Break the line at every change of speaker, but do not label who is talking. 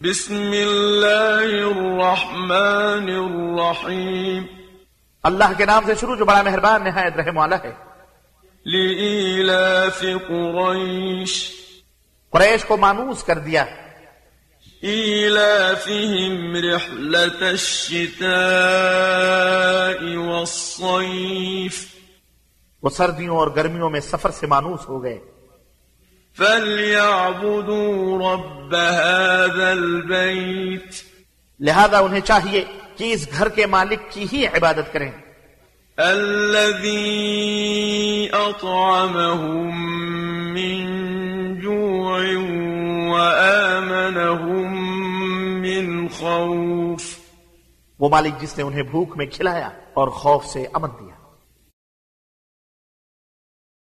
بسم الله الرحمن الرحيم
अल्लाह के नाम से शुरू जो बड़ा मेहरबान नहायत रहम वाला है
لإيلاف قريش
कुरैश को मानूस कर दिया
إيلافهم رحلة الشتاء والصيف
वो सर्दियों और गर्मियों में सफर से मानूस हो गए
فليعبدوا رب هذا البيت
लिहाजा उन्हें चाहिए कि इस घर के मालिक की ही इबादत करें
الذي أطعمهم من جوع وآمنهم من خوف
वो मालिक जिसने उन्हें भूख में खिलाया और खौफ से अमन दिया